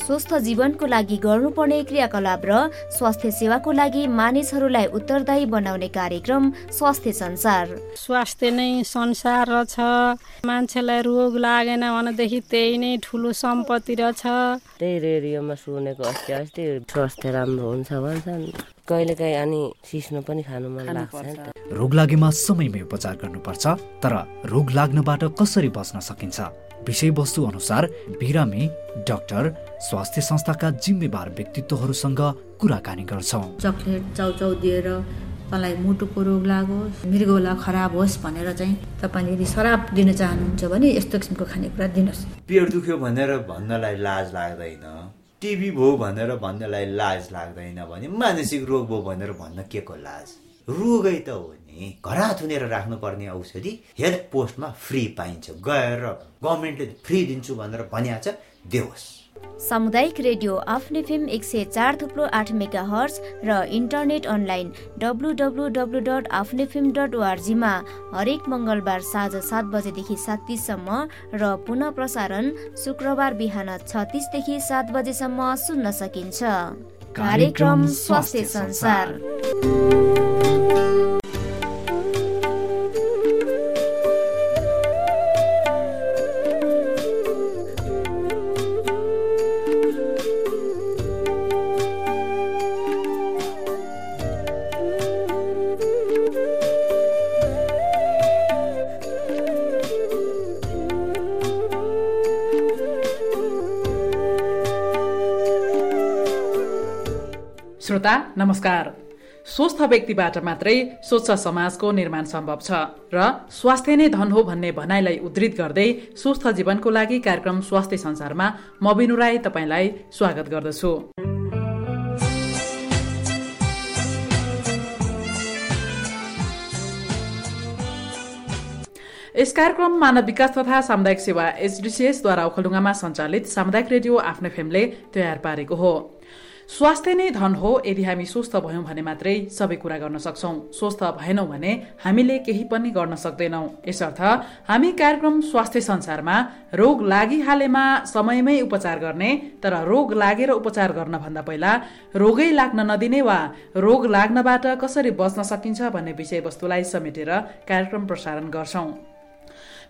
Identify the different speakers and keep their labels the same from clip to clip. Speaker 1: स्वस्थ जीवनको लागि गर्नुपर्ने क्रियाकलाप र स्वास्थ्य सेवाको लागि मानिसहरूलाई उत्तरदायी बनाउने कार्यक्रम स्वास्थ्य संसार
Speaker 2: स्वास्थ्य नै संसार रहेछ मान्छेलाई रोग लागेन भनेदेखि त्यही नै ठुलो सम्पत्ति रहेछ
Speaker 3: त्यही रेडियोमा सुनेको अस्ति अस्ति स्वास्थ्य राम्रो हुन्छ भन्छन् कहिलेकाहीँ अनि सिस्नो पनि खानु मन लाग्छ नि त
Speaker 4: रोग लागेमा समयमै उपचार गर्नुपर्छ तर रोग लाग्नबाट कसरी बच्न सकिन्छ विषयवस्तु अनुसार बिरामी डाक्टर स्वास्थ्य संस्थाका जिम्मेवार व्यक्तित्वहरूसँग कुराकानी गर्छौँ
Speaker 5: चक्लेट चाउचाउ दिएर तँलाई मुटुको रोग लागोस् मृगौला खराब होस् भनेर चाहिँ तपाईँले यदि शराब दिन चाहनुहुन्छ भने यस्तो किसिमको खानेकुरा दिनुहोस्
Speaker 6: पेट दुख्यो भनेर भन्नलाई लाज लाग्दैन टिभी भयो भनेर भन्नलाई लाज लाग्दैन भने मानसिक रोग भयो भनेर भन्न के को लाज रोगै त हो नि घरा थुनेर राख्नुपर्ने औषधि हेल्थ पोस्टमा फ्री पाइन्छ गएर गभर्मेन्टले फ्री दिन्छु भनेर भनिया छ देओस्
Speaker 1: सामुदायिक रेडियो आफ्नो फिल्म एक सय चार थुप्रो आठ मेगा हर्स र internet online W W W dot आफ्नो फिल्म डट ओआरजीमा हरेक मङ्गलबार साँझ सात बजेदेखि सात तिससम्म र पुनः प्रसारण शुक्रबार बिहान छ तिसदेखि सात बजेसम्म सुन्न सकिन्छ कार्यक्रम स्वास्थ्य संसार
Speaker 7: श्रोता नमस्कार स्वस्थ व्यक्तिबाट मात्रै स्वच्छ समाजको निर्माण सम्भव छ र स्वास्थ्य नै धन हो भन्ने भनाइलाई उद्धित गर्दै स्वस्थ जीवनको लागि कार्यक्रम स्वास्थ्य संसारमा म बिनु राई तपाईँलाई स्वागत गर्दछु यस कार्यक्रम मानव विकास तथा सामुदायिक सेवा एचडिसिएसद्वारा ओखलढुङ्गामा सञ्चालित सामुदायिक रेडियो आफ्नो फेमले तयार पारेको हो स्वास्थ्य नै धन हो यदि हामी स्वस्थ भयौँ भने मात्रै सबै कुरा गर्न सक्छौँ स्वस्थ भएनौँ भने हामीले केही पनि गर्न सक्दैनौँ यसर्थ हामी कार्यक्रम स्वास्थ्य संसारमा रोग लागिहालेमा समयमै उपचार गर्ने तर रोग लागेर उपचार गर्नभन्दा पहिला रोगै लाग्न नदिने वा रोग लाग्नबाट कसरी बच्न सकिन्छ भन्ने विषयवस्तुलाई समेटेर कार्यक्रम प्रसारण गर्छौँ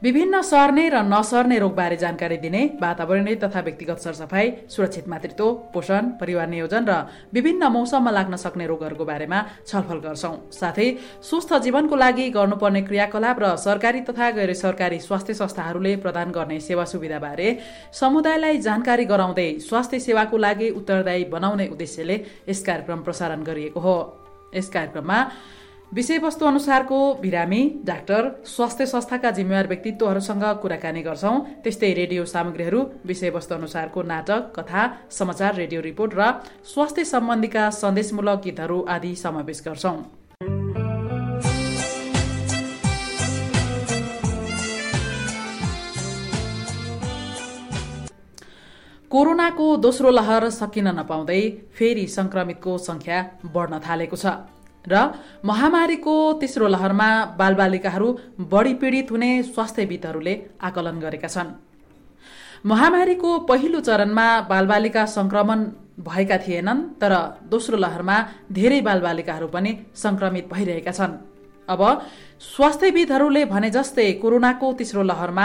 Speaker 7: विभिन्न सर्ने र नसर्ने रोगबारे जानकारी दिने वातावरणीय तथा व्यक्तिगत सरसफाई सुरक्षित मातृत्व पोषण परिवार नियोजन र विभिन्न मौसममा लाग्न सक्ने रोगहरूको बारेमा छलफल गर्छौँ साथै स्वस्थ जीवनको लागि गर्नुपर्ने क्रियाकलाप र सरकारी तथा गैर सरकारी स्वास्थ्य संस्थाहरूले प्रदान गर्ने सेवा सुविधाबारे समुदायलाई जानकारी गराउँदै स्वास्थ्य सेवाको लागि उत्तरदायी बनाउने उद्देश्यले यस कार्यक्रम प्रसारण गरिएको हो यस कार्यक्रममा विषयवस्तु अनुसारको बिरामी डाक्टर स्वास्थ्य संस्थाका जिम्मेवार व्यक्तित्वहरूसँग कुराकानी गर्छौँ त्यस्तै रेडियो सामग्रीहरू विषयवस्तु अनुसारको नाटक कथा समाचार रेडियो रिपोर्ट र स्वास्थ्य सम्बन्धीका सन्देशमूलक गीतहरू आदि समावेश गर्छौँ कोरोनाको दोस्रो लहर सकिन नपाउँदै फेरि सङ्क्रमितको सङ्ख्या बढ्न थालेको छ र महामारीको तेस्रो लहरमा बालबालिकाहरू बढी पीडित हुने स्वास्थ्यविदहरूले आकलन गरेका छन् महामारीको पहिलो चरणमा बालबालिका सङ्क्रमण भएका थिएनन् तर दोस्रो लहरमा धेरै बालबालिकाहरू पनि सङ्क्रमित भइरहेका छन् अब स्वास्थ्यविदहरूले भने जस्तै कोरोनाको तेस्रो लहरमा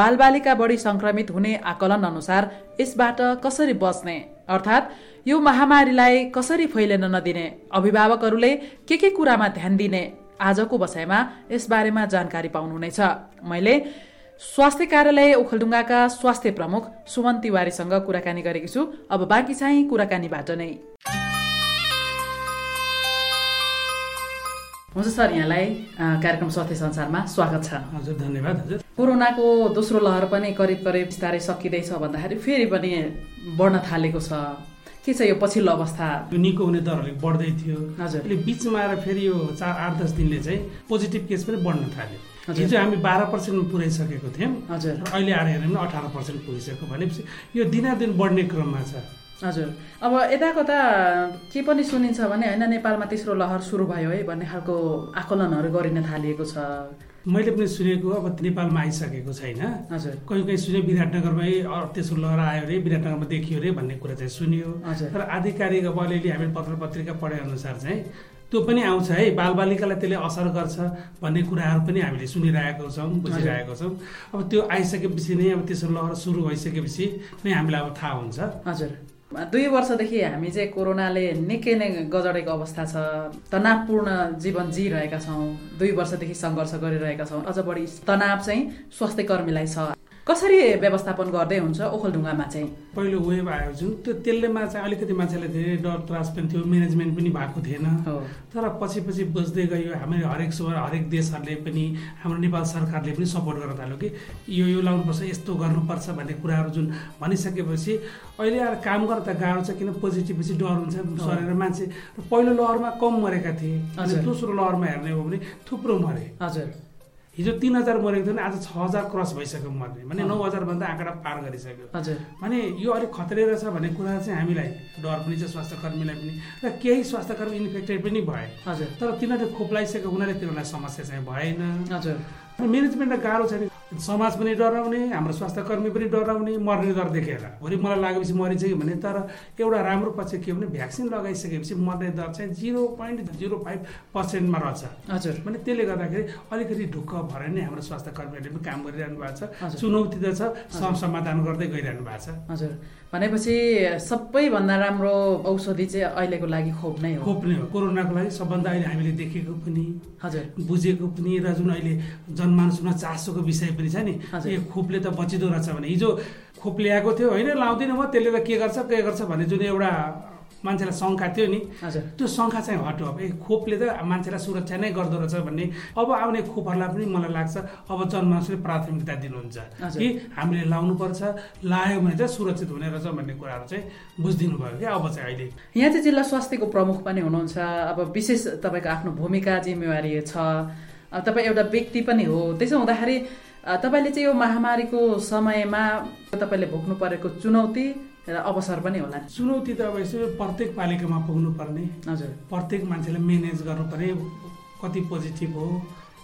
Speaker 7: बालबालिका बढी सङ्क्रमित हुने आकलन अनुसार यसबाट कसरी बच्ने अर्थात् यो महामारीलाई कसरी फैलिन नदिने अभिभावकहरूले के के कुरामा ध्यान दिने आजको बसाइमा यसबारेमा जानकारी पाउनुहुनेछ मैले स्वास्थ्य कार्यालय ओखलढुङ्गाका स्वास्थ्य प्रमुख सुमन तिवारीसँग कुराकानी गरेकी छु अब बाँकी चाहिँ कुराकानीबाट नै हुन्छ सर यहाँलाई कार्यक्रम स्वास्थ्य संसारमा स्वागत छ
Speaker 8: हजुर धन्यवाद हजुर
Speaker 7: कोरोनाको दोस्रो लहर पनि करिब करिब बिस्तारै सकिँदैछ भन्दाखेरि फेरि पनि बढ्न थालेको छ के छ यो पछिल्लो अवस्था
Speaker 8: यो निको हुने दर अलिक बढ्दै थियो
Speaker 7: हजुर।
Speaker 8: अहिले बिचमा आएर फेरि यो चार आठ दस दिनले चाहिँ पोजिटिभ केस पनि बढ्न थाल्यो
Speaker 7: हजुर।
Speaker 8: हिजो हामी बाह्र पर्सेन्ट्मा पुऱ्याइसकेको थियौँ
Speaker 7: हजुर।
Speaker 8: र अहिले आएर हेऱ्यौँ भने अठार पर्सेन्ट पुगिसक्यो भनेपछि यो दिनादिन बढ्ने क्रममा छ
Speaker 7: हजुर अब यता कता के पनि सुनिन्छ भने होइन नेपालमा तेस्रो लहर सुरु भयो है भन्ने खालको आकलनहरू गरिन थालिएको छ
Speaker 8: मैले पनि सुनेको अब नेपालमा आइसकेको छैन
Speaker 7: हजुर
Speaker 8: कहीँ कहीँ सुन्यो विराटनगरमै अ, त्यसको लहरा आयो अरे विराटनगरमा देखियो अरे भन्ने कुरा चाहिँ सुनियो
Speaker 7: हजुर।
Speaker 8: तर आधिकारिक अब अलिअलि हामीले पत्र पत्रिका पढेअनुसार चाहिँ त्यो पनि आउँछ है बालबालिकालाई त्यसले असर गर्छ भन्ने कुराहरू पनि हामीले सुनिरहेको छौँ बुझिरहेको छौँ अब त्यो आइसकेपछि नै अब त्यसो लहर सुरु भइसकेपछि नै हामीलाई अब थाहा हुन्छ
Speaker 7: हजुर दुई वर्षदेखि हामी चाहिँ कोरोनाले निकै नै गजडेको अवस्था छ तनावपूर्ण जीवन जिइरहेका छौँ दुई वर्षदेखि सङ्घर्ष गरिरहेका छौँ अझ बढी तनाव चाहिँ स्वास्थ्य कर्मीलाई छ कसरी व्यवस्थापन गर्दै हुन्छ ओखलढुङ्गामा चाहिँ
Speaker 8: पहिलो वेभ आयो जुन त्यो त्यसलेमा चाहिँ अलिकति मान्छेलाई धेरै डर त्रास पनि थियो म्यानेजमेन्ट पनि भएको थिएन
Speaker 7: हो
Speaker 8: तर पछि पछि बुझ्दै गयो हामीले हरेक स्वर हरेक देशहरूले पनि हाम्रो नेपाल सरकारले पनि सपोर्ट गर्न थाल्यो कि यो यो लाउनुपर्छ यस्तो गर्नुपर्छ भन्ने कुराहरू जुन भनिसकेपछि अहिले आएर काम गर्न त गाह्रो छ किन पोजिटिभपछि डर हुन्छ सरेर मान्छे र पहिलो लहरमा कम मरेका थिए अनि
Speaker 7: हजुर।
Speaker 8: दोस्रो लहरमा हेर्ने हो भने थुप्रो मरे
Speaker 7: हजुर
Speaker 8: हिजो तिन हजार मरेको थियो भने आज छ हजार क्रस भइसक्यो मर्ने भने नौ हजारभन्दा आँकडा पार गरिसक्यो
Speaker 7: हजुर
Speaker 8: भने यो अलिक खतरे रहेछ भन्ने कुरा चाहिँ हामीलाई डर पनि छ स्वास्थ्य कर्मीलाई पनि र केही स्वास्थ्य कर्मी इन्फेक्टेड पनि भए
Speaker 7: हजुर
Speaker 8: तर तिनीहरूले खोप लगाइसकेको हुनाले तिनीहरूलाई समस्या चाहिँ भएन
Speaker 7: हजुर
Speaker 8: अनि म्यानेजमेन्टलाई गाह्रो छ नि समाज पनि डराउने हाम्रो स्वास्थ्य कर्मी पनि डराउने मर्ने दर देखेर भोलि मलाई लागेपछि मरिन्छ कि भने तर एउटा राम्रो पक्ष के हो भने भ्याक्सिन लगाइसकेपछि मर्ने दर चाहिँ जिरो पोइन्ट जिरो फाइभ पर्सेन्टमा रहेछ
Speaker 7: हजुर
Speaker 8: भने त्यसले गर्दाखेरि अलिकति ढुक्क भएर नै हाम्रो स्वास्थ्य कर्मीहरूले पनि काम गरिरहनु भएको छ
Speaker 7: हजुर।
Speaker 8: चुनौती त छ सम- समाधान गर्दै गइरहनु भएको छ
Speaker 7: हजुर भनेपछि सबैभन्दा राम्रो औषधि चाहिँ अहिलेको लागि खोप नै हो
Speaker 8: खोप नै हो कोरोनाको लागि सबभन्दा अहिले हामीले देखेको पनि
Speaker 7: हजुर
Speaker 8: बुझेको पनि र जुन अहिले जनमानसमा चासोको विषय पनि छ नि
Speaker 7: हजुर।
Speaker 8: ए खोपले त बचिँदो रहेछ भने हिजो खोप ल्याएको थियो होइन लाउँदैन म त्यसले त के गर्छ के गर्छ भन्ने जुन एउटा मान्छेलाई शङ्का थियो नि
Speaker 7: हजुर
Speaker 8: त्यो शङ्का चाहिँ हट्यो अब ए खोपले त मान्छेलाई सुरक्षा नै गर्दो रहेछ भन्ने अब आउने खोपहरूलाई पनि मलाई लाग्छ अब जनमानसले प्राथमिकता दिनुहुन्छ
Speaker 7: हजुर।
Speaker 8: कि हामीले लाउनुपर्छ लायो भने चाहिँ सुरक्षित हुने रहेछ भन्ने कुराहरू चाहिँ बुझिदिनु भयो क्या अब चाहिँ अहिले
Speaker 7: यहाँ चाहिँ जिल्ला स्वास्थ्यको प्रमुख पनि हुनुहुन्छ अब विशेष तपाईँको आफ्नो भूमिका जिम्मेवारी छ अब तपाईँ एउटा व्यक्ति पनि हो त्यसो हुँदाखेरि अ, तपाईँले चाहिँ यो महामारीको समयमा तपाईँले भोग्नु परेको चुनौती र अवसर पनि होला
Speaker 8: चुनौती त अब यसो प्रत्येक पालिकामा पुग्नुपर्ने
Speaker 7: हजुर
Speaker 8: प्रत्येक मान्छेलाई म्यानेज गर्नुपर्ने कति पोजिटिभ हो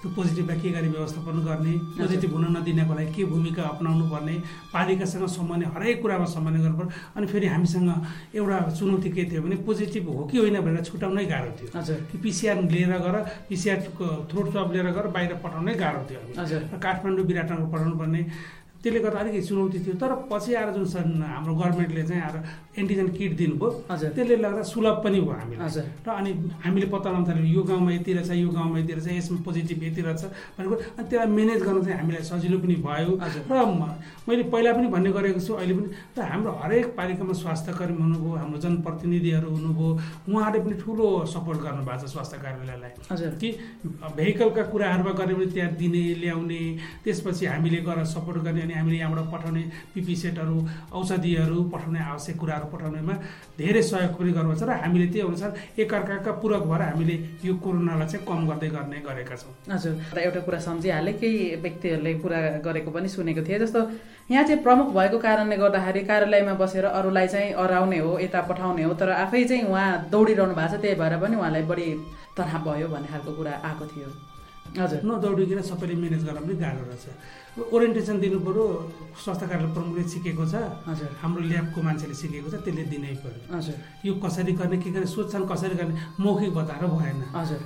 Speaker 8: त्यो पोजिटिभलाई के गरी व्यवस्थापन गर्ने पोजिटिभ हुन नदिनको लागि के भूमिका अप्नाउनु पर्ने पालिकासँग सम्बन्धित हरेक कुरामा सम्बन्ध गर्नुपर्ने अनि फेरि हामीसँग एउटा चुनौती के थियो भने पोजिटिभ हो कि होइन भनेर छुट्याउनै गाह्रो थियो
Speaker 7: हजुर
Speaker 8: कि पिसिआर लिएर गएर पिसिआरको थ्रोट स्वाब लिएर गएर बाहिर पठाउनै गाह्रो थियो हामीलाई।
Speaker 7: हजुर
Speaker 8: र काठमाडौँ विराटनगर पठाउनु पर्ने त्यसले गर्दा अलिकति चुनौती थियो तर पछि आएर जुन सन् हाम्रो गभर्मेन्टले चाहिँ आएर एन्टिजन किट दिनुभयो
Speaker 7: हजुर
Speaker 8: त्यसले गर्दा सुलभ पनि भयो हामीलाई
Speaker 7: हजुर
Speaker 8: र अनि हामीले पत्ता लगाउन थाल्यौँ यो गाउँमा यति रहेछ यो गाउँमा यति रहेछ यसमा पोजिटिभ यति रहेछ भनेको अनि त्यसलाई म्यानेज गर्न चाहिँ हामीलाई सजिलो पनि भयो
Speaker 7: हजुर।
Speaker 8: र म- मैले पहिला पनि भन्ने गरेको छु अहिले पनि र हाम्रो हरेक पालिकामा स्वास्थ्य कर्मी हुनुभयो हाम्रो जनप्रतिनिधिहरू हुनुभयो उहाँहरूले पनि ठुलो सपोर्ट गर्नुभएको छ स्वास्थ्य कार्यालयलाई
Speaker 7: हजुर
Speaker 8: कि भेहिकलका कुराहरूमा गऱ्यो भने त्यहाँ दिने ल्याउने त्यसपछि हामीले गएर सपोर्ट गर्ने अनि हामीले यहाँबाट पठाउने पिपी सेटहरू औषधिहरू पठाउने आवश्यक कुराहरू पठाउनेमा धेरै सहयोग पनि गर्नुपर्छ र हामीले त्यही अनुसार एकअर्काका पूरक भएर हामीले यो कोरोनालाई चाहिँ कम गर्दै गर्ने गरेका छौँ
Speaker 7: हजुर र एउटा कुरा सम्झिहालेँ केही व्यक्तिहरूले कुरा गरेको पनि सुनेको थिएँ जस्तो यहाँ चाहिँ प्रमुख भएको कारणले गर्दाखेरि कार्यालयमा बसेर अरूलाई चाहिँ अराउने हो यता पठाउने हो तर आफै चाहिँ उहाँ दौडिरहनु भएको छ त्यही भएर पनि उहाँलाई बढी तनाव भयो भन्ने खालको कुरा आएको थियो हजुर
Speaker 8: नदौडिकन सबैले म्यानेज गर्न पनि गाह्रो रहेछ ओरिएन्टेसन दिनु पऱ्यो स्वास्थ्य कार्यालय प्रमुखले सिकेको छ
Speaker 7: हजुर
Speaker 8: हाम्रो ल्याबको मान्छेले सिकेको छ त्यसले दिनै पऱ्यो
Speaker 7: हजुर
Speaker 8: यो कसरी गर्ने के गर्ने सोध्छन् कसरी गर्ने मौखिक बताएर भएन
Speaker 7: हजुर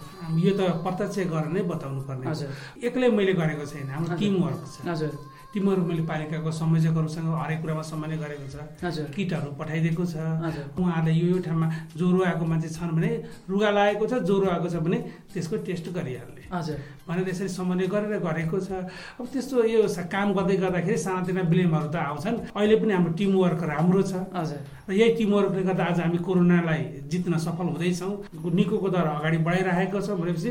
Speaker 8: यो त प्रत्यक्ष गरेर नै बताउनु पर्ने हो।
Speaker 7: हजुर
Speaker 8: एक्लै मैले गरेको छैन हाम्रो
Speaker 7: हजुर।
Speaker 8: टिम वर्क छ
Speaker 7: हजुर
Speaker 8: टिम वर्क मैले पालिकाको संयोजकहरूसँग हरेक कुरामा सम्मान गरेको छ
Speaker 7: हजुर
Speaker 8: किटहरू पठाइदिएको छ
Speaker 7: हजुर
Speaker 8: उहाँहरूले यो यो ठाउँमा ज्वरो आएको मान्छे छन् भने रुगा लागेको छ ज्वरो आएको छ भने त्यसको टेस्ट गरिहाल्ने
Speaker 7: हजुर
Speaker 8: भनेर यसरी समन्वय गरेर गरेको छ अब त्यस्तो यो स- काम गर्दै गर्दाखेरि सानातिना ब्लेमहरू त आउँछन् अहिले पनि हाम्रो टिम वर्क राम्रो छ
Speaker 7: हजुर
Speaker 8: र यही टिमवर्कले गर्दा आज हामी कोरोनालाई जित्न सफल हुँदैछौँ निकोको दर अगाडि बढाइरहेको छ भनेपछि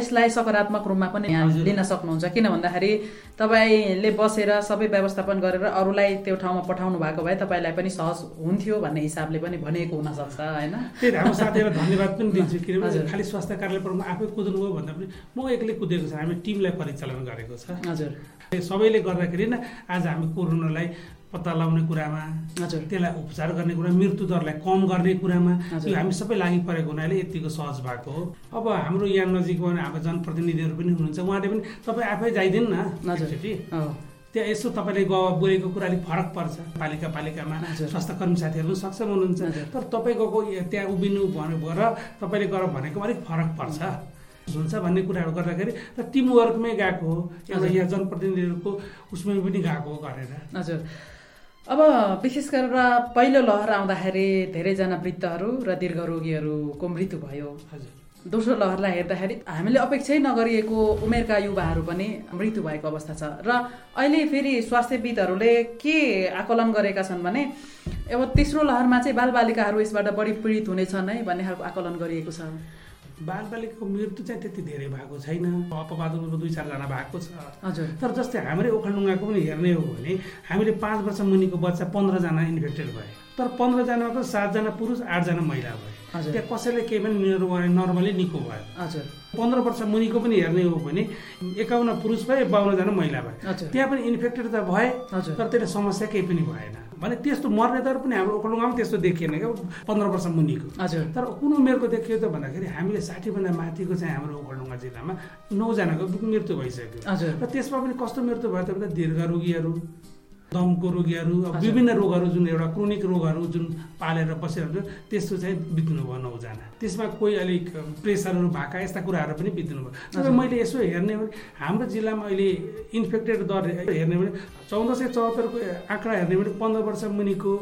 Speaker 7: यसलाई सकारात्मक रूपमा पनि यहाँ
Speaker 8: हजुर।
Speaker 7: लिन सक्नुहुन्छ किन भन्दाखेरि तपाईँले बसेर सबै व्यवस्थापन गरेर अरूलाई त्यो ठाउँमा पठाउनु भएको भए तपाईँलाई पनि सहज हुन्थ्यो भन्ने हिसाबले पनि भनिएको हुनसक्छ होइन
Speaker 8: त्यही त हाम्रो साथीहरूलाई धन्यवाद पनि दिन्छु किनभने
Speaker 7: हजुर।
Speaker 8: खालि स्वास्थ्य कार्यालय प्रमुख आफै कुद्नुभयो भन्दा पनि म एक्लै कुदेको छ हामी टिमलाई परिचालन गरेको छ
Speaker 7: हजुर
Speaker 8: सबैले गर्दाखेरि नै आज हामी कोरोनालाई पत्ता लगाउने कुरामा
Speaker 7: हजुर।
Speaker 8: त्यसलाई उपचार गर्ने कुरा मृत्युदरलाई कम गर्ने कुरामा
Speaker 7: हजुर।
Speaker 8: यो हामी सबै लागि परेको हुनाले यतिको सहज भएको हो अब हाम्रो यहाँ नजिकमा हाम्रो जनप्रतिनिधिहरू पनि हुनुहुन्छ उहाँले पनि तपाईँ आफै जाइदिनु न
Speaker 7: हजुर।
Speaker 8: एकचोटि।
Speaker 7: अँ,
Speaker 8: त्यहाँ यसो तपाईँले ग- बोलेको कुराले फरक पर्छ पालिका पालिकामा
Speaker 7: हजुर।
Speaker 8: स्वास्थ्य कर्मी साथीहरू पनि सक्षम हुनुहुन्छ
Speaker 7: हजुर।
Speaker 8: तर तपाईँ गएको ए- त्यहाँ उभिनु भन्यो र तपाईँले गर भनेको अलिक फरक पर्छ हुन्छ भन्ने कुराहरू गर्दाखेरि र टिमवर्कमै गएको हो एउटा
Speaker 7: हजुर।
Speaker 8: यहाँ जनप्रतिनिधिहरूको उसमै पनि गएको हो गरेर
Speaker 7: हजुर अब विशेष गरेर पहिलो लहर आउँदाखेरि धेरैजना वृद्धहरू र दीर्घ रोगीहरूको मृत्यु भयो
Speaker 8: हजुर
Speaker 7: दोस्रो लहरलाई हेर्दाखेरि हामीले अपेक्षै नगरिएको उमेरका युवाहरू पनि मृत्यु भएको अवस्था छ र अहिले फेरि स्वास्थ्यविदहरूले के आकलन गरेका छन् भने अब तेस्रो लहरमा चाहिँ बालबालिकाहरू यसबाट बढी पीडित हुनेछन् है भन्ने खालको आकलन गरिएको छ
Speaker 8: बालबालिकाको मृत्यु चाहिँ त्यति धेरै भएको छैन अपवादमा दुई चारजना भएको छ
Speaker 7: हजुर
Speaker 8: तर जस्तै हाम्रै ओखलडुङ्गाको पनि हेर्ने हो भने हामीले पाँच वर्ष मुनिको बच्चा पन्ध्रजना इन्फेक्टेड भए तर पन्ध्रजनाको सातजना पुरुष आठजना महिला भए
Speaker 7: हजुर।
Speaker 8: त्यहाँ कसैले केही पनि निर्वाह- नर्मली निको भयो
Speaker 7: हजुर
Speaker 8: पन्ध्र वर्ष मुनिको पनि हेर्ने हो भने एकाउन्न पुरुष भए बाहुन्नजना महिला भए
Speaker 7: हजुर।
Speaker 8: त्यहाँ पनि इन्फेक्टेड त भए
Speaker 7: हजुर।
Speaker 8: तर त्यसले समस्या केही पनि भएन भने त्यस्तो मर्ने दर पनि हाम्रो ओखलडुङ्गामा त्यस्तो देखिएन क्या पन्ध्र वर्ष मुनिको
Speaker 7: हजुर
Speaker 8: तर कुन उमेरको देखियो त भन्दाखेरि हामीले साठीभन्दा माथिको चाहिँ हाम्रो ओखलडुङ्गा जिल्लामा नौजनाको मृत्यु भइसक्यो
Speaker 7: हजुर
Speaker 8: र त्यसमा पनि कस्तो मृत्यु भयो त भन्दा दीर्घ रोगीहरू दमको रोगीहरू अब
Speaker 7: हजुर।
Speaker 8: विभिन्न रोगहरू जुन एउटा क्रोनिक रोगहरू जुन पालेर बसेर हुन्छ त्यस्तो चाहिँ बित्नुभयो नौजना त्यसमा कोही अलिक प्रेसरहरू भएका यस्ता कुराहरू पनि बित्नुभयो जब
Speaker 7: हजुर।
Speaker 8: मैले यसो हेर्ने हो भने हाम्रो जिल्लामा अहिले इन्फेक्टेड दर हेर्ने हो भने चौध सय चौहत्तरको आँकडा हेर्ने हो भने पन्ध्र वर्ष मुनिको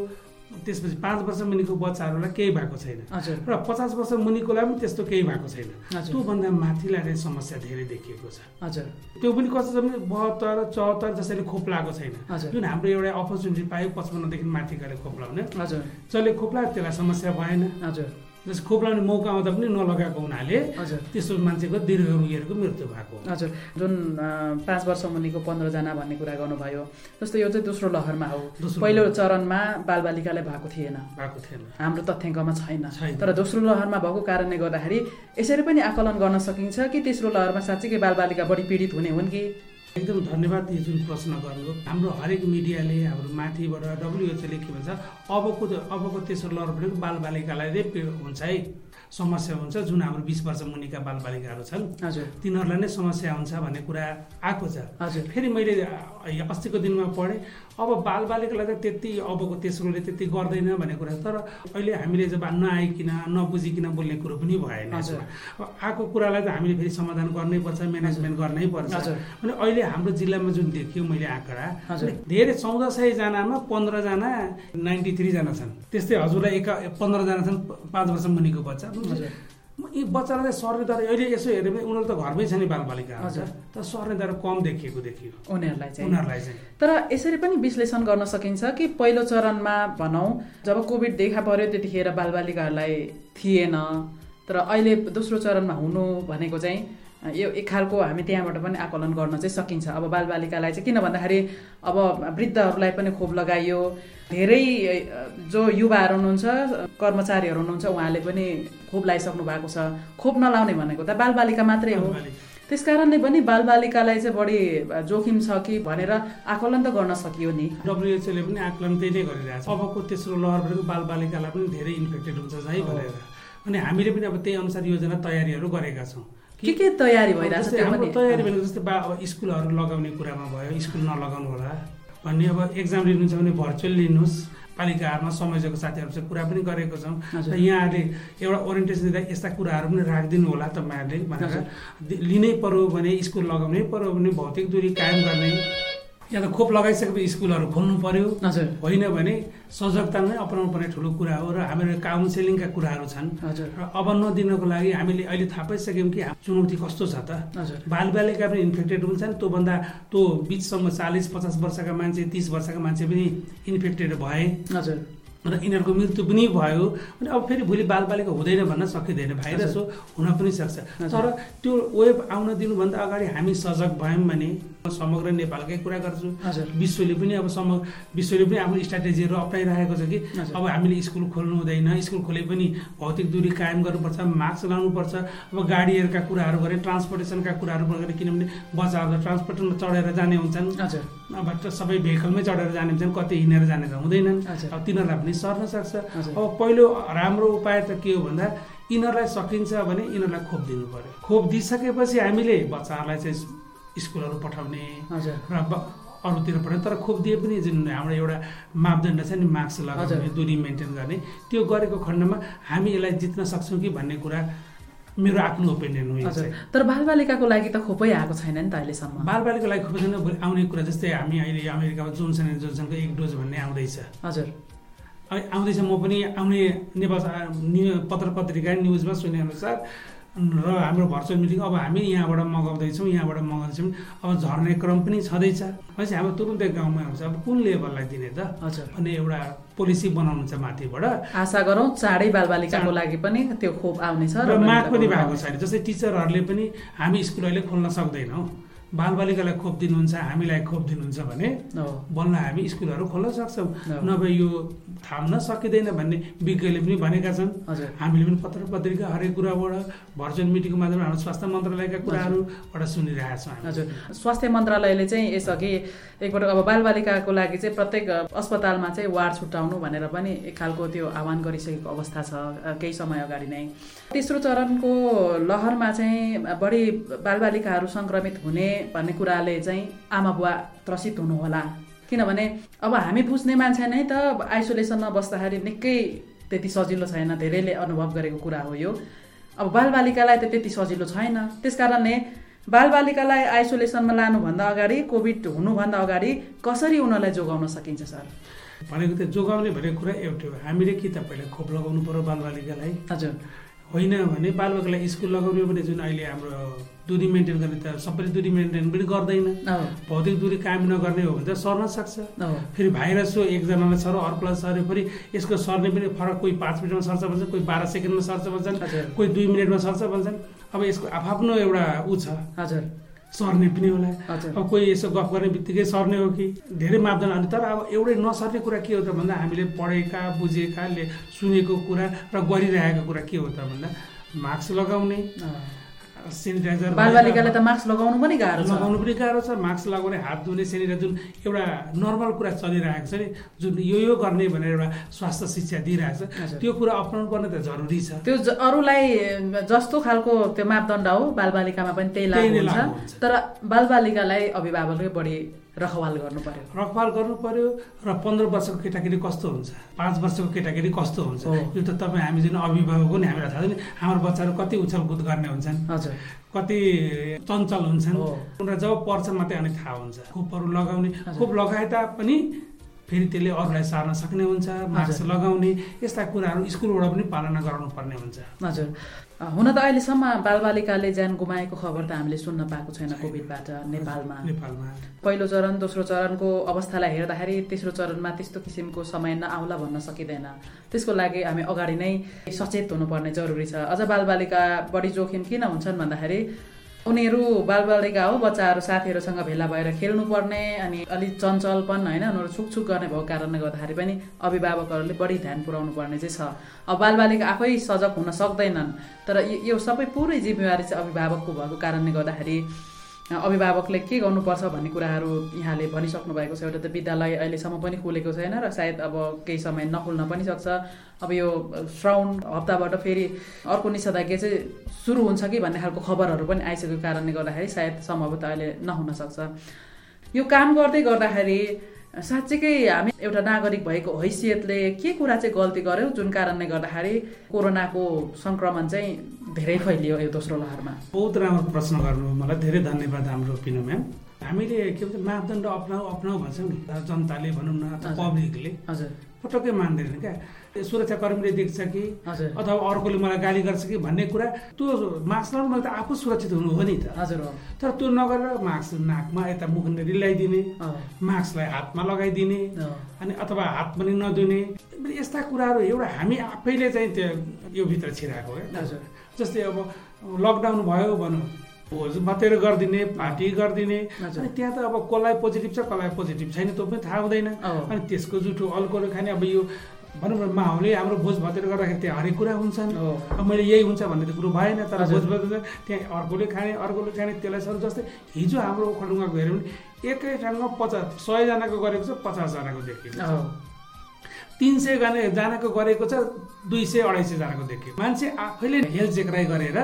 Speaker 8: त्यसपछि पाँच वर्ष मुनिको बच्चाहरूलाई केही भएको छैन
Speaker 7: हजुर
Speaker 8: र पचास वर्ष मुनिकोलाई पनि त्यस्तो केही भएको छैन
Speaker 7: हजुर।
Speaker 8: त्योभन्दा माथिलाई चाहिँ समस्या धेरै देखिएको छ
Speaker 7: हजुर
Speaker 8: त्यो पनि कस्तो छ भने बहत्तर चौहत्तर जसैले खोप लगाएको छैन
Speaker 7: हजुर।
Speaker 8: जुन हाम्रो एउटा अपर्च्युनिटी पायो पचपन्नदेखि माथिकाले खोप लाउने
Speaker 7: हजुर
Speaker 8: जसले खोप लगायो त्यसलाई समस्या भएन
Speaker 7: हजुर
Speaker 8: जस खोप लाउने मौका आउँदा पनि नलगाएको हुनाले
Speaker 7: हजुर
Speaker 8: त्यस्तो मान्छेको दीर्घ रोगीहरूको मृत्यु भएको हो।
Speaker 7: हजुर जुन अ, पाँच वर्ष मुनिको पन्ध्रजना भन्ने कुरा गर्नुभयो जस्तो यो चाहिँ दोस्रो लहरमा हो
Speaker 8: दोस्रो
Speaker 7: पहिलो
Speaker 8: लहर।
Speaker 7: चरणमा बालबालिकालाई भएको थिएन
Speaker 8: भएको थिएन
Speaker 7: हाम्रो तथ्याङ्कमा छैन
Speaker 8: छैन।
Speaker 7: तर दोस्रो लहरमा भएको कारणले गर्दाखेरि यसरी पनि आकलन गर्न सकिन्छ कि तेस्रो लहरमा साँच्चीकै बालबालिका बढी पीडित हुने हुन् कि
Speaker 8: एकदम धन्यवाद यो जुन प्रश्न गर्नुभयो हाम्रो हरेक मिडियाले हाम्रो माथिबाट डब्लुएचओले के भन्छ अबको अबको तेस्रो लहर भनेको बालबालिकालाई नै पीड हुन्छ है समस्या हुन्छ जुन हाम्रो बिस वर्ष मुनिका बालबालिकाहरू छन्
Speaker 7: हजुर
Speaker 8: तिनीहरूलाई नै समस्या हुन्छ भन्ने कुरा आएको छ
Speaker 7: हजुर
Speaker 8: फेरि मैले अ- अस्तिको दिनमा पढेँ अब बालबालिकालाई त त्यति अबको तेस्रोले त्यति गर्दैन भन्ने कुरा तर अहिले हामीले जब नआइकन नबुझिकन बोल्ने कुरो पनि भएन
Speaker 7: हजुर।
Speaker 8: यसमा। अब आएको कुरालाई त हामीले फेरि समाधान गर्नै पर्छ म्यानेजमेन्ट गर्नै पर्छ
Speaker 7: हजुर।
Speaker 8: अनि अहिले हाम्रो जिल्लामा जुन देखियो मैले आँकडा
Speaker 7: हजुर।
Speaker 8: अनि धेरै चौध सयजनामा पन्ध्रजना नाइन्टी थ्रीजना छन् त्यस्तै हजुरलाई एका पन्ध्रजना छन् प- पाँच वर्ष मुनिको बच्चा
Speaker 7: हजुर
Speaker 8: म यी बच्चालाई चाहिँ सर्ने दर अहिले यसो हेऱ्यो भने उनीहरू त घरमै छ नि बालबालिकाहरू
Speaker 7: हजुर।
Speaker 8: छ तर सर्ने दर कम देखिएको देखियो
Speaker 7: उनीहरूलाई चाहिँ
Speaker 8: उनीहरूलाई चाहिँ
Speaker 7: तर यसरी पनि विश्लेषण गर्न सकिन्छ कि पहिलो चरणमा भनौँ जब कोभिड देखा पर्यो त्यतिखेर बालबालिकाहरूलाई थिएन तर अहिले दोस्रो चरणमा हुनु भनेको चाहिँ अ, यो एक खालको हामी त्यहाँबाट पनि आकलन गर्न चाहिँ सकिन्छ अब बालबालिकालाई चाहिँ किन भन्दाखेरि अब वृद्धहरूलाई पनि खोप लगाइयो धेरै अ, जो युवाहरू हुनुहुन्छ कर्मचारीहरू हुनुहुन्छ उहाँले पनि खोप लगाइसक्नु भएको छ खोप नलाउने भनेको त बालबालिका मात्रै हो
Speaker 8: बालबालिका।
Speaker 7: त्यस कारणले पनि बालबालिकालाई चाहिँ बढी जोखिम छ कि भनेर आकलन त गर्न सकियो नि
Speaker 8: डब्लुएचओले पनि आकलन त्यही नै गरिरहेको छ अबको तेस्रो लहर भनेको बालबालिकालाई पनि धेरै इन्फेक्टेड हुन्छ है भनेर अनि हामीले पनि अब त्यही अनुसार योजना तयारीहरू गरेका छौँ
Speaker 7: के के तयारी भइरहेछ
Speaker 8: जस्तै
Speaker 7: त्यो
Speaker 8: हाम्रो
Speaker 7: पनि
Speaker 8: तयारी भनेको जस्तै बा अब स्कुलहरू लगाउने कुरामा भयो स्कुल नलगाउनु होला भन्ने अब एक्जाम लिनुहुन्छ भने भर्चुअल लिनुहोस् पालिकाहरूमा समाजको साथीहरूसँग कुरा पनि गरेको छौँ
Speaker 7: हजुर।
Speaker 8: र यहाँहरूले एउटा ओरिएन्टेसन दिँदा यस्ता कुराहरू पनि राखिदिनु होला तपाईँहरूले भनेर
Speaker 7: हजुर।
Speaker 8: दि- लिनै पर्यो भने स्कुल लगाउनै पर्यो भने भौतिक दूरी कायम गर्ने या त खोप लगाइसकेपछि स्कुलहरू खोल्नु पर्यो
Speaker 7: हजुर
Speaker 8: होइन भने सजगता नै अपनाउनु पर्ने ठुलो कुरा हो र हाम्रो काउन्सेलिङका कुराहरू छन्
Speaker 7: हजुर
Speaker 8: र अब नदिनको लागि हामीले अहिले थाहा पाइसक्यौँ कि हाम्रो चुनौती कस्तो छ त
Speaker 7: हजुर
Speaker 8: बालबालिका पनि इन्फेक्टेड हुन्छन् त्योभन्दा त्यो बिचसम्म चालिस पचास वर्षका मान्छे तिस वर्षका मान्छे पनि इन्फेक्टेड भए
Speaker 7: हजुर
Speaker 8: र यिनीहरूको मृत्यु पनि भयो अनि अब फेरि भोलि बालबालिका हुँदैन भन्न सकिँदैन भाइरस हो हुन पनि सक्छ
Speaker 7: हजुर।
Speaker 8: तर त्यो वेब आउन दिनुभन्दा अगाडि हामी सजग भयौँ भने म समग्र नेपालकै कुरा गर्छु
Speaker 7: हजुर।
Speaker 8: विश्वले पनि अब सम विश्वले पनि आफ्नो स्ट्राटेजीहरू अप्नाइरहेको छ कि
Speaker 7: हजुर।
Speaker 8: अब हामीले स्कुल खोल्नु हुँदैन स्कुल खोले पनि भौतिक दूरी कायम गर्नुपर्छ मास्क लाउनुपर्छ अब गाडीहरूका कुराहरू गऱ्यो ट्रान्सपोर्टेसनका कुराहरू गऱ्यो किनभने बच्चाहरूलाई ट्रान्सपोर्टमा चढेर जाने हुन्छन्
Speaker 7: हजुर
Speaker 8: अब त सबै भेहिकलमै चढेर जाने हुन्छन् कति हिँडेर जाने त हुँदैनन्
Speaker 7: हजुर।
Speaker 8: अब तिनीहरूलाई पनि सर्न सक्छ
Speaker 7: हजुर।
Speaker 8: अब पहिलो राम्रो उपाय त के हो भन्दा यिनीहरूलाई सकिन्छ भने यिनीहरूलाई खोप दिनु पर्यो खोप दिइसकेपछि हामीले बच्चाहरूलाई चाहिँ स्कुलहरू पठाउने
Speaker 7: हजुर
Speaker 8: र ब- अरूतिर पठाउने तर खोप दिए पनि जुन हाम्रो एउटा मापदण्ड छ नि मास्क लगाउने
Speaker 7: हजुर।
Speaker 8: दुरी मेन्टेन गर्ने त्यो गरेको खण्डमा हामी यसलाई जित्न सक्छौँ कि भन्ने कुरा मेरो आफ्नो ओपिनियन हो यो
Speaker 7: हजुर
Speaker 8: चाहिँ
Speaker 7: तर बालबालिकाको लागि त खोपै आएको छैन नि त अहिलेसम्म
Speaker 8: बालबालिकाको लागि खोप छैन भोलि आउने कुरा जस्तै हामी अहिले अमेरिकामा जोन्सन एन्ड जोन्सनको एक डोज भन्ने आउँदैछ
Speaker 7: हजुर
Speaker 8: अब आउँदैछ म पनि आउने नेपाल सा- न्यु पत्र पत्रिका न्युजमा सुनेअनुसार र हाम्रो भर्चुअल मिटिङ अब हामी यहाँबाट मगाउँदैछौँ यहाँबाट मगाउँदैछौँ अब झर्ने क्रम पनि छँदैछ भनेपछि हाम्रो तुरुन्तै गाउँमा हुन्छ अब कुन लेभललाई दिने त
Speaker 7: हजुर
Speaker 8: भन्ने एउटा पोलिसी बनाउनुहुन्छ माथिबाट
Speaker 7: आशा गरौँ चाँडै बालबालिकाको लागि पनि त्यो खोप आउनेछ
Speaker 8: र माग पनि भएको छैन जस्तै टिचरहरूले पनि हामी स्कुल अहिले खोल्न सक्दैनौँ बालबालिकालाई खोप दिनुहुन्छ हामीलाई खोप दिनुहुन्छ भने
Speaker 7: हो
Speaker 8: बल्ल हामी स्कुलहरू खोल्न सक्छौँ
Speaker 7: हो।
Speaker 8: नभए यो थाम्न सकिँदैन भन्ने विज्ञले पनि भनेका छन्
Speaker 7: हजुर
Speaker 8: हामीले पनि पत्र पत्रिका हरेक कुराबाट भर्चुअल मिटिङको माध्यमबाट हाम्रो स्वास्थ्य मन्त्रालयका कुराहरूबाट सुनिरहेका छौँ हामी।
Speaker 7: हजुर स्वास्थ्य मन्त्रालयले चाहिँ यसअघि एकपल्ट अब बालबालिकाको लागि चाहिँ प्रत्येक अ, अस्पतालमा चाहिँ वार्ड छुट्याउनु भनेर पनि एक खालको त्यो आह्वान गरिसकेको अवस्था छ अ, केही समय अगाडि नै तेस्रो चरणको लहरमा चाहिँ बढी बालबालिकाहरू सङ्क्रमित हुने भन्ने कुराले चाहिँ आमा बुवा त्रसित हुनुहोला किनभने अब हामी बुझ्ने मान्छे नै त आइसोलेसनमा बस्दाखेरि निकै त्यति सजिलो छैन धेरैले अनुभव गरेको कुरा हो यो अब बालबालिकालाई त त्यति सजिलो छैन त्यस कारणले बालबालिकालाई आइसोलेसनमा लानुभन्दा अगाडि कोभिड हुनुभन्दा अगाडि कसरी उनीहरूलाई जोगाउन सकिन्छ सर
Speaker 8: भनेको त्यो जोगाउने भनेको कुरा एउटै हो हामीले कि त पहिला खोप लगाउनु पर्यो बालबालिकालाई
Speaker 7: हजुर
Speaker 8: होइन भने बालबालिकालाई स्कुल लगाउने भने जुन अहिले हाम्रो दूरी मेन्टेन गर्ने त सबैले दूरी मेन्टेन पनि गर्दैन
Speaker 7: हो,
Speaker 8: भौतिक दूरी कायम नगर्ने हो भने त सर्न सक्छ
Speaker 7: हो,
Speaker 8: फेरि भाइरस हो एकजनालाई सर्यो अर्कोलाई सर्यो फेरि यसको सर्ने पनि फरक कोही पाँच मिनटमा सर्छ भन्छन् कोही बाह्र सेकेन्डमा सर्छ भन्छन्
Speaker 7: हजुर
Speaker 8: कोही दुई मिनटमा सर्छ भन्छन् अब यसको आफआफ्नो एउटा ऊ छ
Speaker 7: हजुर
Speaker 8: सर्ने पनि होला
Speaker 7: हजुर
Speaker 8: अब कोही यसो गफ गर्ने बित्तिकै सर्ने हो कि धेरै मापदण्ड अनि तर अब एउटै नसर्ने कुरा के हो त भन्दा हामीले पढेका बुझेका ले सुनेको कुरा र गरिरहेको कुरा के हो त भन्दा मास्क लगाउने
Speaker 7: अँ।
Speaker 8: सेनिटाइजर
Speaker 7: बालबालिकालाई त मास्क लगाउनु पनि गाह्रो छ
Speaker 8: लगाउनु पनि गाह्रो छ मास्क लगाउने हात धुने सेनिटाइजर जुन एउटा नर्मल कुरा चलिरहेको छ नि जुन यो यो गर्ने भनेर एउटा स्वास्थ्य शिक्षा दिइरहेको छ
Speaker 7: हजुर।
Speaker 8: त्यो कुरा अप्नाउनु पर्ने त जरुरी छ
Speaker 7: त्यो ज- अरूलाई अ, जस्तो खालको त्यो मापदण्ड हो बालबालिकामा पनि त्यही लागु
Speaker 8: त्यही नै
Speaker 7: हुन्छ
Speaker 8: लागु हुन्छ।
Speaker 7: तर बालबालिकालाई अभिभावकले बढी रखवाल गर्नु पर्यो
Speaker 8: रखभाल गर्नु पर्यो र पन्ध्र वर्षको केटाकेटी कस्तो हुन्छ पाँच वर्षको केटाकेटी कस्तो हुन्छ
Speaker 7: हो।
Speaker 8: यो त तपाईँ हामी जुन अभिभावक हो नि हामीलाई थाहा छ नि हाम्रो बच्चाहरू कति उछलकुद गर्ने हुन्छन्
Speaker 7: हजुर
Speaker 8: कति चञ्चल हुन्छन्
Speaker 7: हो।
Speaker 8: उनीहरू जब पढ्छ मात्रै अनि थाहा हुन्छ खोपहरू लगाउने
Speaker 7: हजुर।
Speaker 8: खोप लगाए तापनि फेरि त्यसले अरूलाई सार्न सक्ने हुन्छ मास्क लगाउने यस्ता कुराहरू स्कुलबाट पनि पालना गराउनु पर्ने हुन्छ
Speaker 7: हजुर अ, हुन त अहिलेसम्म बालबालिकाले ज्यान गुमाएको खबर त हामीले सुन्न पाएको छैन कोभिडबाट नेपालमा
Speaker 8: नेपालमा
Speaker 7: पहिलो चरण दोस्रो चरणको अवस्थालाई हेर्दाखेरि तेस्रो चरणमा त्यस्तो किसिमको समय नआउला भन्न सकिँदैन त्यसको लागि हामी अगाडि नै सचेत हुनुपर्ने जरुरी छ अझ बालबालिका बढी जोखिम किन हुन्छन् भन्दाखेरि उनीहरू बालबालिका हो बच्चाहरू साथीहरूसँग भेला भएर खेल्नुपर्ने अनि अलिक चञ्चलपन होइन उनीहरू छुकछुक गर्ने भएको कारणले गर्दाखेरि पनि अभिभावकहरूले बढी ध्यान पुर्याउनु पर्ने चाहिँ छ अब बालबालिका आफै सजग हुन सक्दैनन् तर यो- यो सबै पुरै जिम्मेवारी चाहिँ अभिभावकको भएको कारणले गर्दाखेरि अभिभावकले के गर्नुपर्छ भन्ने कुराहरू यहाँले भनिसक्नु भएको छ एउटा त विद्यालय अहिलेसम्म पनि खुलेको छैन र सायद अब केही समय नखुल्न पनि सक्छ अब यो श्रावण हप्ताबाट फेरि अर्को निषेधाज्ञा चाहिँ सुरु हुन्छ कि भन्ने खालको खबरहरू पनि आइसकेको कारणले गर्दाखेरि सायद सम्भवतः अहिले नहुन सक्छ यो काम गर्दै गर्दाखेरि साँच्चीकै हामी एउटा नागरिक भएको हैसियतले के कुरा चाहिँ गल्ती गर्यौँ जुन कारणले गर्दाखेरि कोरोनाको सङ्क्रमण चाहिँ धेरै फैलियो यो दोस्रो लहरमा
Speaker 8: बहुत राम्रो प्रश्न गर्नुभयो मलाई धेरै धन्यवाद हाम्रो पिनु म्याम हामीले के भन्छ मापदण्ड अप्नाऊ अप्नाऊ भन्छौँ नि अब जनताले भनौँ न अथवा
Speaker 7: हजुर।
Speaker 8: पब्लिकले
Speaker 7: हजुर
Speaker 8: पटक्कै मान्दैनन् क्या सुरक्षाकर्मीले देख्छ कि
Speaker 7: हजुर
Speaker 8: अथवा अर्कोले मलाई गाली गर्छ कि भन्ने कुरा त्यो मास्क लाउनु मैले त आफू सुरक्षित हुनु हो नि त
Speaker 7: हजुर हो
Speaker 8: तर त्यो नगरेर मास्क नाकमा यता मुखनेरि ल्याइदिने
Speaker 7: अँ,
Speaker 8: मास्कलाई हातमा लगाइदिने
Speaker 7: अँ,
Speaker 8: अनि अथवा हात पनि नधुने यस्ता कुराहरू एउटा हामी आफैले चाहिँ त्यो यो भित्र छिराएको हो क्या
Speaker 7: हजुर
Speaker 8: जस्तै अब लकडाउन भयो भनौँ भोज मात्रै गरिदिने पार्टी गरिदिने अनि त्यहाँ त अब कसलाई पोजिटिभ छ कसलाई पोजिटिभ छैन त्यो पनि थाहा हुँदैन
Speaker 7: अँ।
Speaker 8: अनि त्यसको जुठो अल्कोहल खाने अब यो भनौँ न माहौले हाम्रो भोज भतेर गर्दाखेरि त्यहाँ हरेक कुरा हुन्छन्
Speaker 7: अँ।
Speaker 8: अब मैले यही हुन्छ भन्ने त कुरो भएन तर
Speaker 7: हजुर।
Speaker 8: भोज भतेर त्यहाँ अर्कोले खाने अर्कोले खाने त्यसलाई सर जस्तै हिजो हाम्रो ओखलढुङ्गाको हेऱ्यौँ भने एकै ठाउँमा पचास सयजनाको गरेको छ पचासजनाको देखिन्छ
Speaker 7: अँ।
Speaker 8: तिन सय गर्ने जनाको गरेको छ दुई सय अढाई सयजनाको देखियो मान्छे आफैले हेल्थ चेकराई गरेर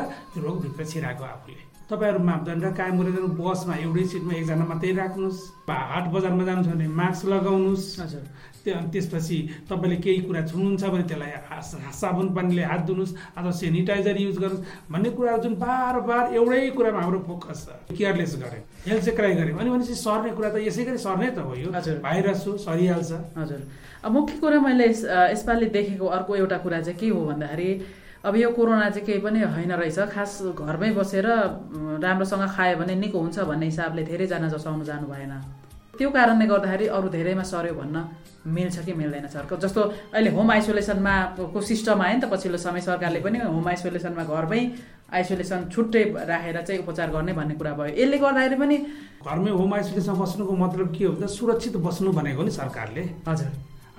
Speaker 8: रोगभित्र छिराएको आफूले तपाईँहरू मापदण्ड कायम गरेर बसमा एउटै सिटमा एकजना मात्रै राख्नुहोस् बा हाट बजारमा जानु छ भने मास्क लगाउनुहोस्
Speaker 7: हजुर।
Speaker 8: त्यो अनि त्यसपछि तपाईँले केही कुरा छुनुहुन्छ भने त्यसलाई हास- साबुन पानीले हात धुनुहोस् अथवा सेनिटाइजर युज गर्नुहोस् भन्ने कुराहरू जुन बार बार एउटै कुरामा हाम्रो फोकस छ केयरलेस गऱ्यौँ हेल्थ चेकराई गऱ्यौँ अनि भनेपछि सर्ने कुरा त यसै गरी सर्ने त हो यो
Speaker 7: हजुर।
Speaker 8: भाइरस हो सरिहाल्छ
Speaker 7: हजुर अब मुख्य कुरा मैले यस- अ, यसपालि देखेको अर्को एउटा कुरा चाहिँ के हो भन्दाखेरि अब यो कोरोना चाहिँ केही पनि होइन रहेछ खास घरमै बसेर अम, राम्रोसँग खायो भने निको हुन्छ भन्ने हिसाबले धेरैजना जसाउनु जानु भएन त्यो कारणले गर्दाखेरि अरू धेरैमा सर्यो भन्न मिल्छ कि मिल्दैन सरकार जस्तो अहिले होम आइसोलेसनमा को सिस्टम आयो नि त पछिल्लो समय सरकारले पनि होम आइसोलेसनमा घरमै आइसोलेसन छुट्टै राखेर चाहिँ उपचार गर्ने भन्ने कुरा भयो यसले गर्दाखेरि पनि
Speaker 8: घरमै होम आइसोलेसन बस्नुको मतलब के हो भन्दा सुरक्षित बस्नु भनेको नि सरकारले
Speaker 7: हजुर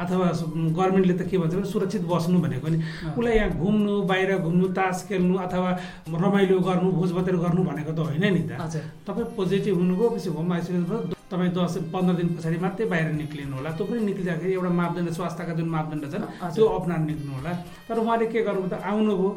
Speaker 8: अथवा गभर्मेन्टले त के भन्छ भने सुरक्षित बस्नु भनेको नि उसलाई यहाँ घुम्नु बाहिर घुम्नु तास खेल्नु अथवा रमाइलो गर्नु भोजभतेर गर्नु भनेको त होइन नि त
Speaker 7: हजुर
Speaker 8: तपाईँ पोजिटिभ हुनुभयो पछि होम आइसोलेसन भयो, तपाईँ दस पन्ध्र दिन पछाडि मात्रै बाहिर निक्लिनु होला त्यो पनि निक्लिँदाखेरि एउटा मापदण्ड स्वास्थ्यका जुन मापदण्ड छन्
Speaker 7: हजुर।
Speaker 8: त्यो अप्नाएर निक्लिनु होला तर उहाँले के गर्नु त आउनुभयो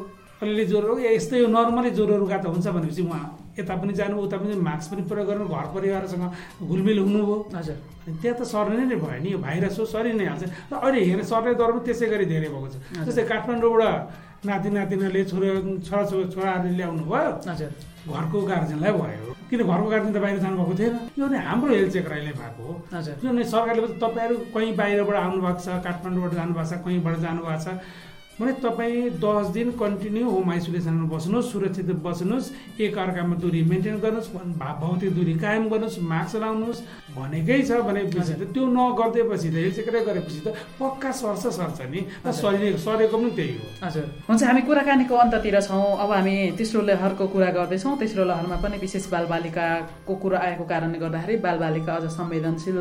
Speaker 8: अलिअलि ज्वरो ए, यस्तै हो नर्मली ज्वरो रुगा त हुन्छ भनेपछि उहाँ यता पनि जानु उता पनि मास्क पनि प्रयोग गर्नु घर परिवारसँग घुलमिल हुनुभयो
Speaker 7: हजुर
Speaker 8: अनि त्यहाँ त सर्ने नै भयो नि यो भाइरस हो सरि नै हाल्छ र अहिले हेर्ने सर्ने दर पनि त्यसै गरी धेरै भएको छ जस्तै काठमाडौँबाट नाति नातिनाले छोरा छोरा छोराहरूले ल्याउनु भयो
Speaker 7: हजुर
Speaker 8: घरको गार्जेनलाई भयो किन घरको गार्जेन त बाहिर जानुभएको थिएन यो नै हाम्रो हेल्थ चेकराईले भएको हो
Speaker 7: हजुर
Speaker 8: किनभने सरकारले पनि तपाईँहरू कहीँ बाहिरबाट आउनुभएको छ काठमाडौँबाट जानुभएको छ कहीँबाट जानुभएको छ भने तपाईँ दस दिन कन्टिन्यू होम आइसोलेसनमा बस्नुहोस् सुरक्षित बस्नुहोस् एक अर्कामा दुरी मेन्टेन गर्नुहोस् भा- भौतिक दुरी कायम गर्नुहोस् मास्क लाउनुहोस् भनेकै छ भनेपछि त त्यो नगरिदिएपछि त हेल्थ चेकराई गरेपछि त पक्का सर्छ सर्छ नि र सरे सरेको पनि त्यही हो
Speaker 7: हजुर हुन्छ हामी कुराकानीको अन्ततिर छौँ अब हामी तेस्रो लहरको कुरा गर्दैछौँ तेस्रो लहरमा पनि विशेष बालबालिकाको कुरा आएको कारणले गर्दाखेरि बालबालिका अझ संवेदनशील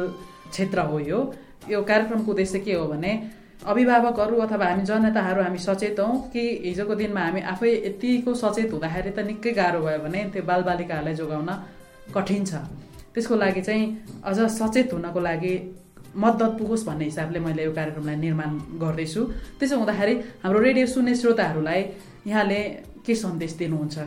Speaker 7: क्षेत्र हो यो यो कार्यक्रमको उद्देश्य के हो भने अभिभावकहरू अथवा हामी जनताहरू हामी सचेत हौँ कि हिजोको दिनमा हामी आफै यतिको सचेत हुँदाखेरि त निकै गाह्रो भयो भने त्यो बालबालिकाहरूलाई जोगाउन कठिन छ त्यसको लागि चाहिँ अझ सचेत हुनको लागि मद्दत पुगोस् भन्ने हिसाबले मैले यो कार्यक्रमलाई निर्माण गर्दैछु त्यसो हुँदाखेरि हाम्रो रेडियो सुन्ने श्रोताहरूलाई यहाँले के सन्देश दिनुहुन्छ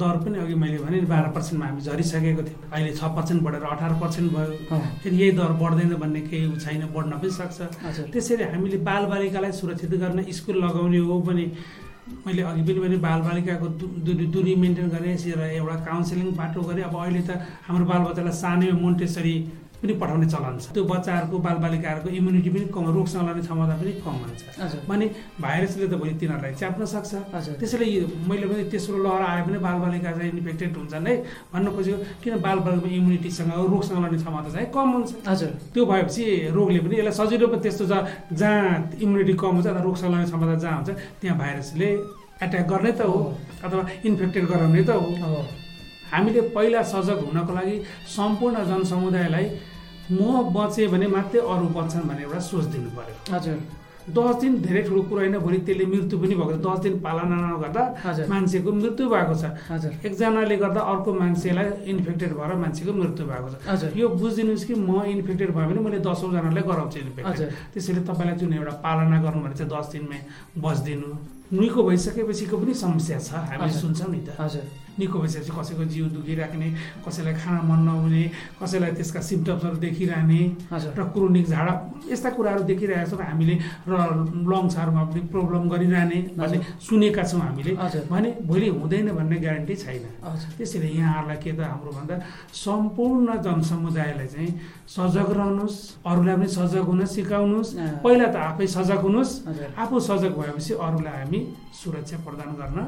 Speaker 8: दर पनि अघि मैले भने नि बाह्र पर्सेन्टमा हामी झरिसकेको थियो अहिले छ पर्सेन्ट बढेर अठार पर्सेन्ट भयो फेरि यही दर बढ्दैन भन्ने केही उ छैन बढ्न पनि सक्छ
Speaker 7: हजुर
Speaker 8: त्यसरी हामीले बालबालिकालाई सुरक्षित गर्न स्कुल लगाउने हो भने मैले अघि पनि भने बालबालिकाको दु- दुरी दुरी मेन्टेन गर्ने र एउटा काउन्सिलिङ बाटो गरेँ अब अहिले त हाम्रो बालबच्चालाई सानैमा मोन्टेसरी पनि पठाउने चलन छ त्यो बच्चाहरूको बालबालिकाहरूको इम्युनिटी पनि कम रोगसँग लड्ने क्षमता पनि कम हुन्छ
Speaker 7: हजुर
Speaker 8: भने भाइरसले त भोलि तिनीहरूलाई च्याप्न सक्छ
Speaker 7: हजुर
Speaker 8: त्यसैले यो- मैले पनि तेस्रो लहर आयो भने बालबालिका चाहिँ इन्फेक्टेड हुन्छन् है भन्न खोजेको किन बालबालिकामा इम्युनिटीसँग रोगसँग लड्ने क्षमता चाहिँ कम हुन्छ
Speaker 7: हजुर
Speaker 8: त्यो भएपछि रोगले पनि यसलाई सजिलो पनि त्यस्तो छ जहाँ इम्युनिटी कम हुन्छ अथवा रोगसँग लड्ने क्षमता जहाँ हुन्छ त्यहाँ भाइरसले एट्याक गर्ने त हो अथवा इन्फेक्टेड गराउने त हो
Speaker 7: हो
Speaker 8: हामीले पहिला सजग हुनको लागि सम्पूर्ण जनसमुदायलाई म बचेँ भने मात्रै अरू बच्छन् भन्ने एउटा सोच दिनु पर्यो
Speaker 7: हजुर
Speaker 8: दस दिन धेरै ठुलो कुरो होइन भोलि त्यसले मृत्यु पनि भएको छ दस दिन पालना नगर्दा
Speaker 7: हजुर।
Speaker 8: मान्छेको मृत्यु भएको छ
Speaker 7: हजुर
Speaker 8: एकजनाले गर्दा अर्को मान्छेलाई इन्फेक्टेड भएर मान्छेको मृत्यु भएको छ
Speaker 7: हजुर
Speaker 8: यो बुझिदिनुहोस् कि म इन्फेक्टेड भयो भने मैले दसौँजनालाई गराउँछु इन्फेक्टेड
Speaker 7: हजुर।
Speaker 8: त्यसैले तपाईँलाई जुन एउटा पालना गर्नु भने चाहिँ दस दिनमै बस्दिनु निको भइसकेपछिको पनि समस्या छ हामीले
Speaker 7: हजुर।
Speaker 8: सुन्छौँ नि त
Speaker 7: हजुर
Speaker 8: निको भइसकेपछि कसैको जिउ दुखिराख्ने कसैलाई खाना मन नहुने कसैलाई त्यसका सिम्टम्सहरू देखिरहने
Speaker 7: हजुर
Speaker 8: र क्रोनिक झाडा यस्ता कुराहरू देखिरहेका छौँ हामीले र लङ्सहरूमा पनि प्रब्लम गरिरहने भन्ने सुनेका छौँ हामीले
Speaker 7: हजुर।
Speaker 8: भने भोलि हुँदैन भन्ने ग्यारेन्टी छैन
Speaker 7: हजुर
Speaker 8: त्यसैले यहाँहरूलाई के त हाम्रो भन्दा सम्पूर्ण जनसमुदायलाई चाहिँ सजग रहनुहोस् अरूलाई पनि सजग हुन सिकाउनुहोस्
Speaker 7: अँ।
Speaker 8: पहिला त आफै सजग हुनुहोस्
Speaker 7: हजुर
Speaker 8: आफू सजग भएपछि अरूलाई हामी सुरक्षा प्रदान गर्न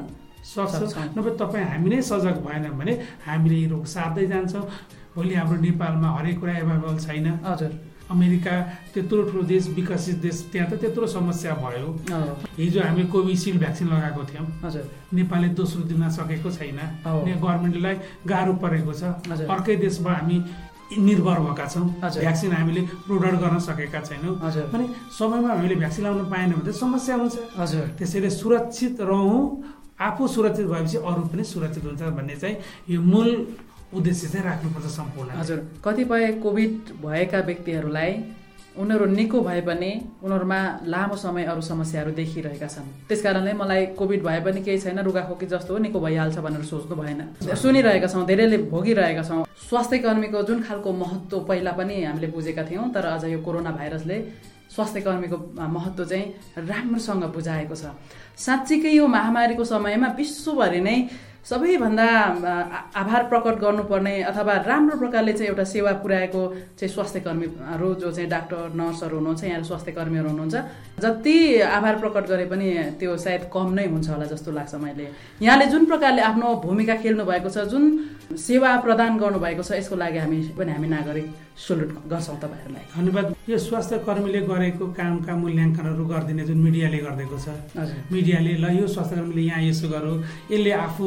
Speaker 7: सक्छौँ।
Speaker 8: सक्छौँ नभए तपाईँ हामी नै सजग भएन भने हामीले यो रोग सार्दै जान्छौँ भोलि हाम्रो नेपालमा हरेक कुरा एभाइलेबल छैन
Speaker 7: हजुर
Speaker 8: अमेरिका त्यत्रो ठुलो देश विकसित देश त्यहाँ त त्यत्रो समस्या भयो हिजो हामी कोभिसिल्ड भ्याक्सिन लगाएको थियौँ
Speaker 7: हजुर
Speaker 8: नेपालले दोस्रो दिन सकेको छैन
Speaker 7: हो।
Speaker 8: ने गभर्मेन्टलाई गाह्रो परेको छ
Speaker 7: हजुर।
Speaker 8: अर्कै देशमा हामी निर्भर भएका छौँ
Speaker 7: हजुर।
Speaker 8: भ्याक्सिन हामीले प्रोडक्ट गर्न सकेका छैनौँ
Speaker 7: हजुर।
Speaker 8: भने समयमा हामीले भ्याक्सिन लाउन पाएन भने त समस्या हुन्छ
Speaker 7: हजुर
Speaker 8: त्यसैले सुरक्षित रहँ आफू सुरक्षित भएपछि अरू पनि सुरक्षित हुन्छ भन्ने चाहिँ यो मूल उद्देश्य चाहिँ राख्नुपर्छ सम्पूर्ण
Speaker 7: हजुर कतिपय कोभिड भएका व्यक्तिहरूलाई उनीहरू निको भए पनि उनीहरूमा लामो समय अरू समस्याहरू देखिरहेका छन् त्यस कारणले मलाई कोभिड भए पनि केही छैन रुगाखोकी जस्तो हो निको भइहाल्छ भनेर सोच्नु भएन सुनिरहेका छौँ धेरैले भोगिरहेका छौँ स्वास्थ्य कर्मीको जुन खालको महत्त्व पहिला पनि हामीले बुझेका थियौँ तर अझ यो कोरोना भाइरसले स्वास्थ्य कर्मीको महत्त्व चाहिँ राम्रोसँग बुझाएको छ साँच्चीकै यो महामारीको समयमा विश्वभरि नै सबैभन्दा आ, आभार प्रकट गर्नुपर्ने अथवा राम्रो प्रकारले चाहिँ एउटा सेवा पुर्याएको चाहिँ स्वास्थ्य कर्मीहरू जो चाहिँ डाक्टर नर्सहरू हुनुहुन्छ यहाँ स्वास्थ्य कर्मीहरू हुनुहुन्छ जति आभार प्रकट गरे पनि त्यो सायद कम नै हुन्छ होला जस्तो लाग्छ मैले यहाँले जुन प्रकारले आफ्नो भूमिका खेल्नु भएको छ जुन सेवा प्रदान गर्नुभएको छ यसको लागि हामी पनि हामी नागरिक सल्युट गर्छौँ तपाईँहरूलाई
Speaker 8: धन्यवाद यो स्वास्थ्य कर्मीले गरेको कामका मूल्याङ्कनहरू गरिदिने जुन मिडियाले गरिदिएको छ
Speaker 7: हजुर
Speaker 8: मिडियाले ल यो स्वास्थ्य कर्मीले यहाँ यसो गर्यो यसले आफू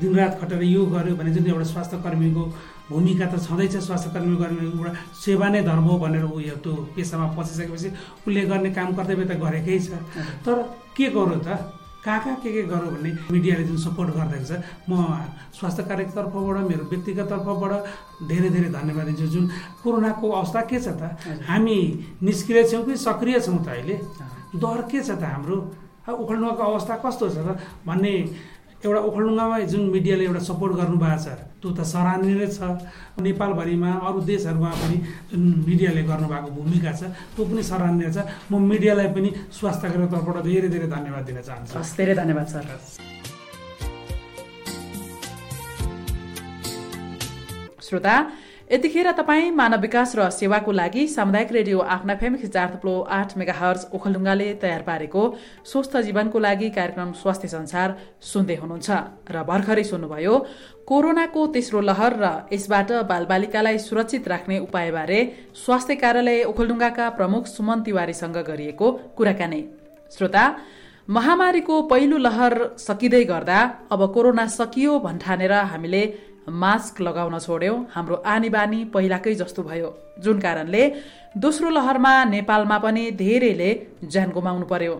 Speaker 8: दिनरात खटेर यो गर्यो भने जुन एउटा स्वास्थ्य कर्मीको भूमिका त छँदैछ स्वास्थ्य कर्मी गर्ने एउटा सेवा नै धर्म हो भनेर ऊ यो त्यो पेसामा पसिसकेपछि उसले गर्ने काम कर्तव्य त गरेकै छ तर के गर्यो त कहाँ कहाँ के के गर्यो भने मिडियाले जुन सपोर्ट गरिरहेको छ म स्वास्थ्य कार्यको तर्फबाट मेरो व्यक्तिगत तर्फबाट धेरै धेरै धन्यवाद दिन्छु जुन कोरोनाको अवस्था के छ त हामी निष्क्रिय छौँ कि सक्रिय छौँ त अहिले डर के छ त हाम्रो अब ओखलढुङ्गाको अवस्था कस्तो छ त भन्ने एउटा ओखलढुङ्गामा जुन मिडियाले एउटा सपोर्ट गर्नुभएको छ त्यो त सराहनीय नै छ नेपालभरिमा अरू देशहरूमा पनि जुन मिडियाले गर्नुभएको भूमिका छ त्यो पनि सराहनीय छ म मिडियालाई पनि स्वास्थ्यको तर्फबाट धेरै धेरै धन्यवाद दिन चाहन्छु
Speaker 7: हस् धेरै धन्यवाद सर श्रोता यतिखेर तपाईँ मानव विकास र सेवाको लागि सामुदायिक रेडियो आफ्ना फेम चार थप्लो आठ मेगा हर्ज ओखलढुङ्गाले तयार पारेको स्वस्थ जीवनको लागि कार्यक्रम स्वास्थ्य संसार सुन्दै हुनुहुन्छ र भर्खरै सुन्नुभयो कोरोनाको तेस्रो लहर र यसबाट बालबालिकालाई सुरक्षित राख्ने उपायबारे स्वास्थ्य कार्यालय ओखलढुङ्गाका प्रमुख सुमन तिवारीसँग गरिएको कुराकानी श्रोता महामारीको पहिलो लहर सकिँदै गर्दा अब कोरोना सकियो भन्ठानेर हामीले मास्क लगाउन छोड्यौँ हाम्रो आनी बानी पहिलाकै जस्तो भयो जुन कारणले दोस्रो लहरमा नेपालमा पनि धेरैले ज्यान गुमाउनु पर्यो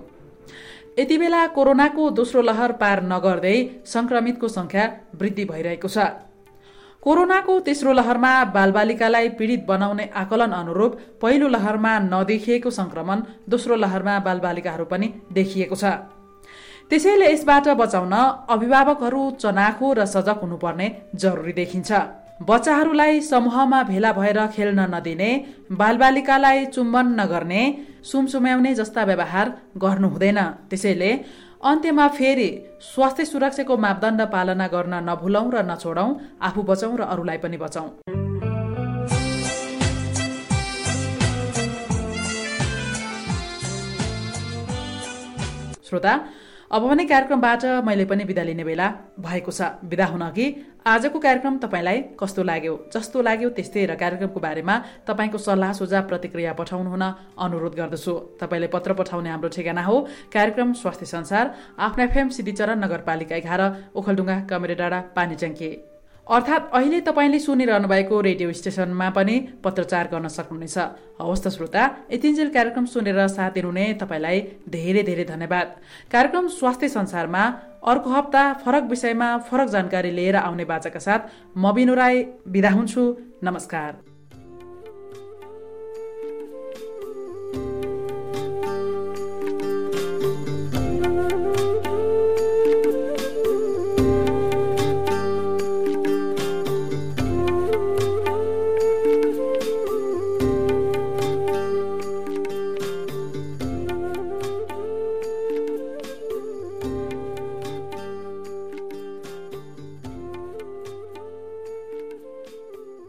Speaker 7: यति बेला कोरोनाको दोस्रो लहर पार नगर्दै सङ्क्रमितको सङ्ख्या वृद्धि भइरहेको छ कोरोनाको तेस्रो लहरमा बालबालिकालाई पीडित बनाउने आकलन अनुरूप पहिलो लहरमा नदेखिएको सङ्क्रमण दोस्रो लहरमा बालबालिकाहरू पनि देखिएको छ त्यसैले यसबाट बचाउन अभिभावकहरू चनाखो र सजग हुनुपर्ने जरुरी देखिन्छ बच्चाहरूलाई समूहमा भेला भएर खेल्न नदिने बालबालिकालाई चुम्बन नगर्ने सुमसुम्याउने जस्ता व्यवहार गर्नु हुँदैन त्यसैले अन्त्यमा फेरि स्वास्थ्य सुरक्षाको मापदण्ड पालना गर्न नभुलौँ र नछोडौँ आफू बचाउँ र अरूलाई पनि बचाउँ श्रोता अब भने कार्यक्रमबाट मैले पनि बिदा लिने बेला भएको छ बिदा हुन अघि आजको कार्यक्रम तपाईँलाई कस्तो लाग्यो जस्तो लाग्यो त्यस्तै र कार्यक्रमको बारेमा तपाईँको सल्लाह सुझाव प्रतिक्रिया पठाउनुहुन अनुरोध गर्दछु तपाईँले पत्र पठाउने हाम्रो ठेगाना हो कार्यक्रम स्वास्थ्य संसार आफ्ना एफएम सिद्धिचरण नगरपालिका एघार ओखलडुङ्गा कमेरे डाँडा पानीट्याङ्की अर्थात् अहिले तपाईँले सुनिरहनु भएको रेडियो स्टेसनमा पनि पत्रचार गर्न सक्नुहुनेछ हवस् त श्रोता यतिन्जेल कार्यक्रम सुनेर साथ दिनुहुने तपाईँलाई धेरै धेरै धन्यवाद कार्यक्रम स्वास्थ्य संसारमा अर्को हप्ता फरक विषयमा फरक जानकारी लिएर आउने बाचाका साथ म बिनु राई बिदा हुन्छु नमस्कार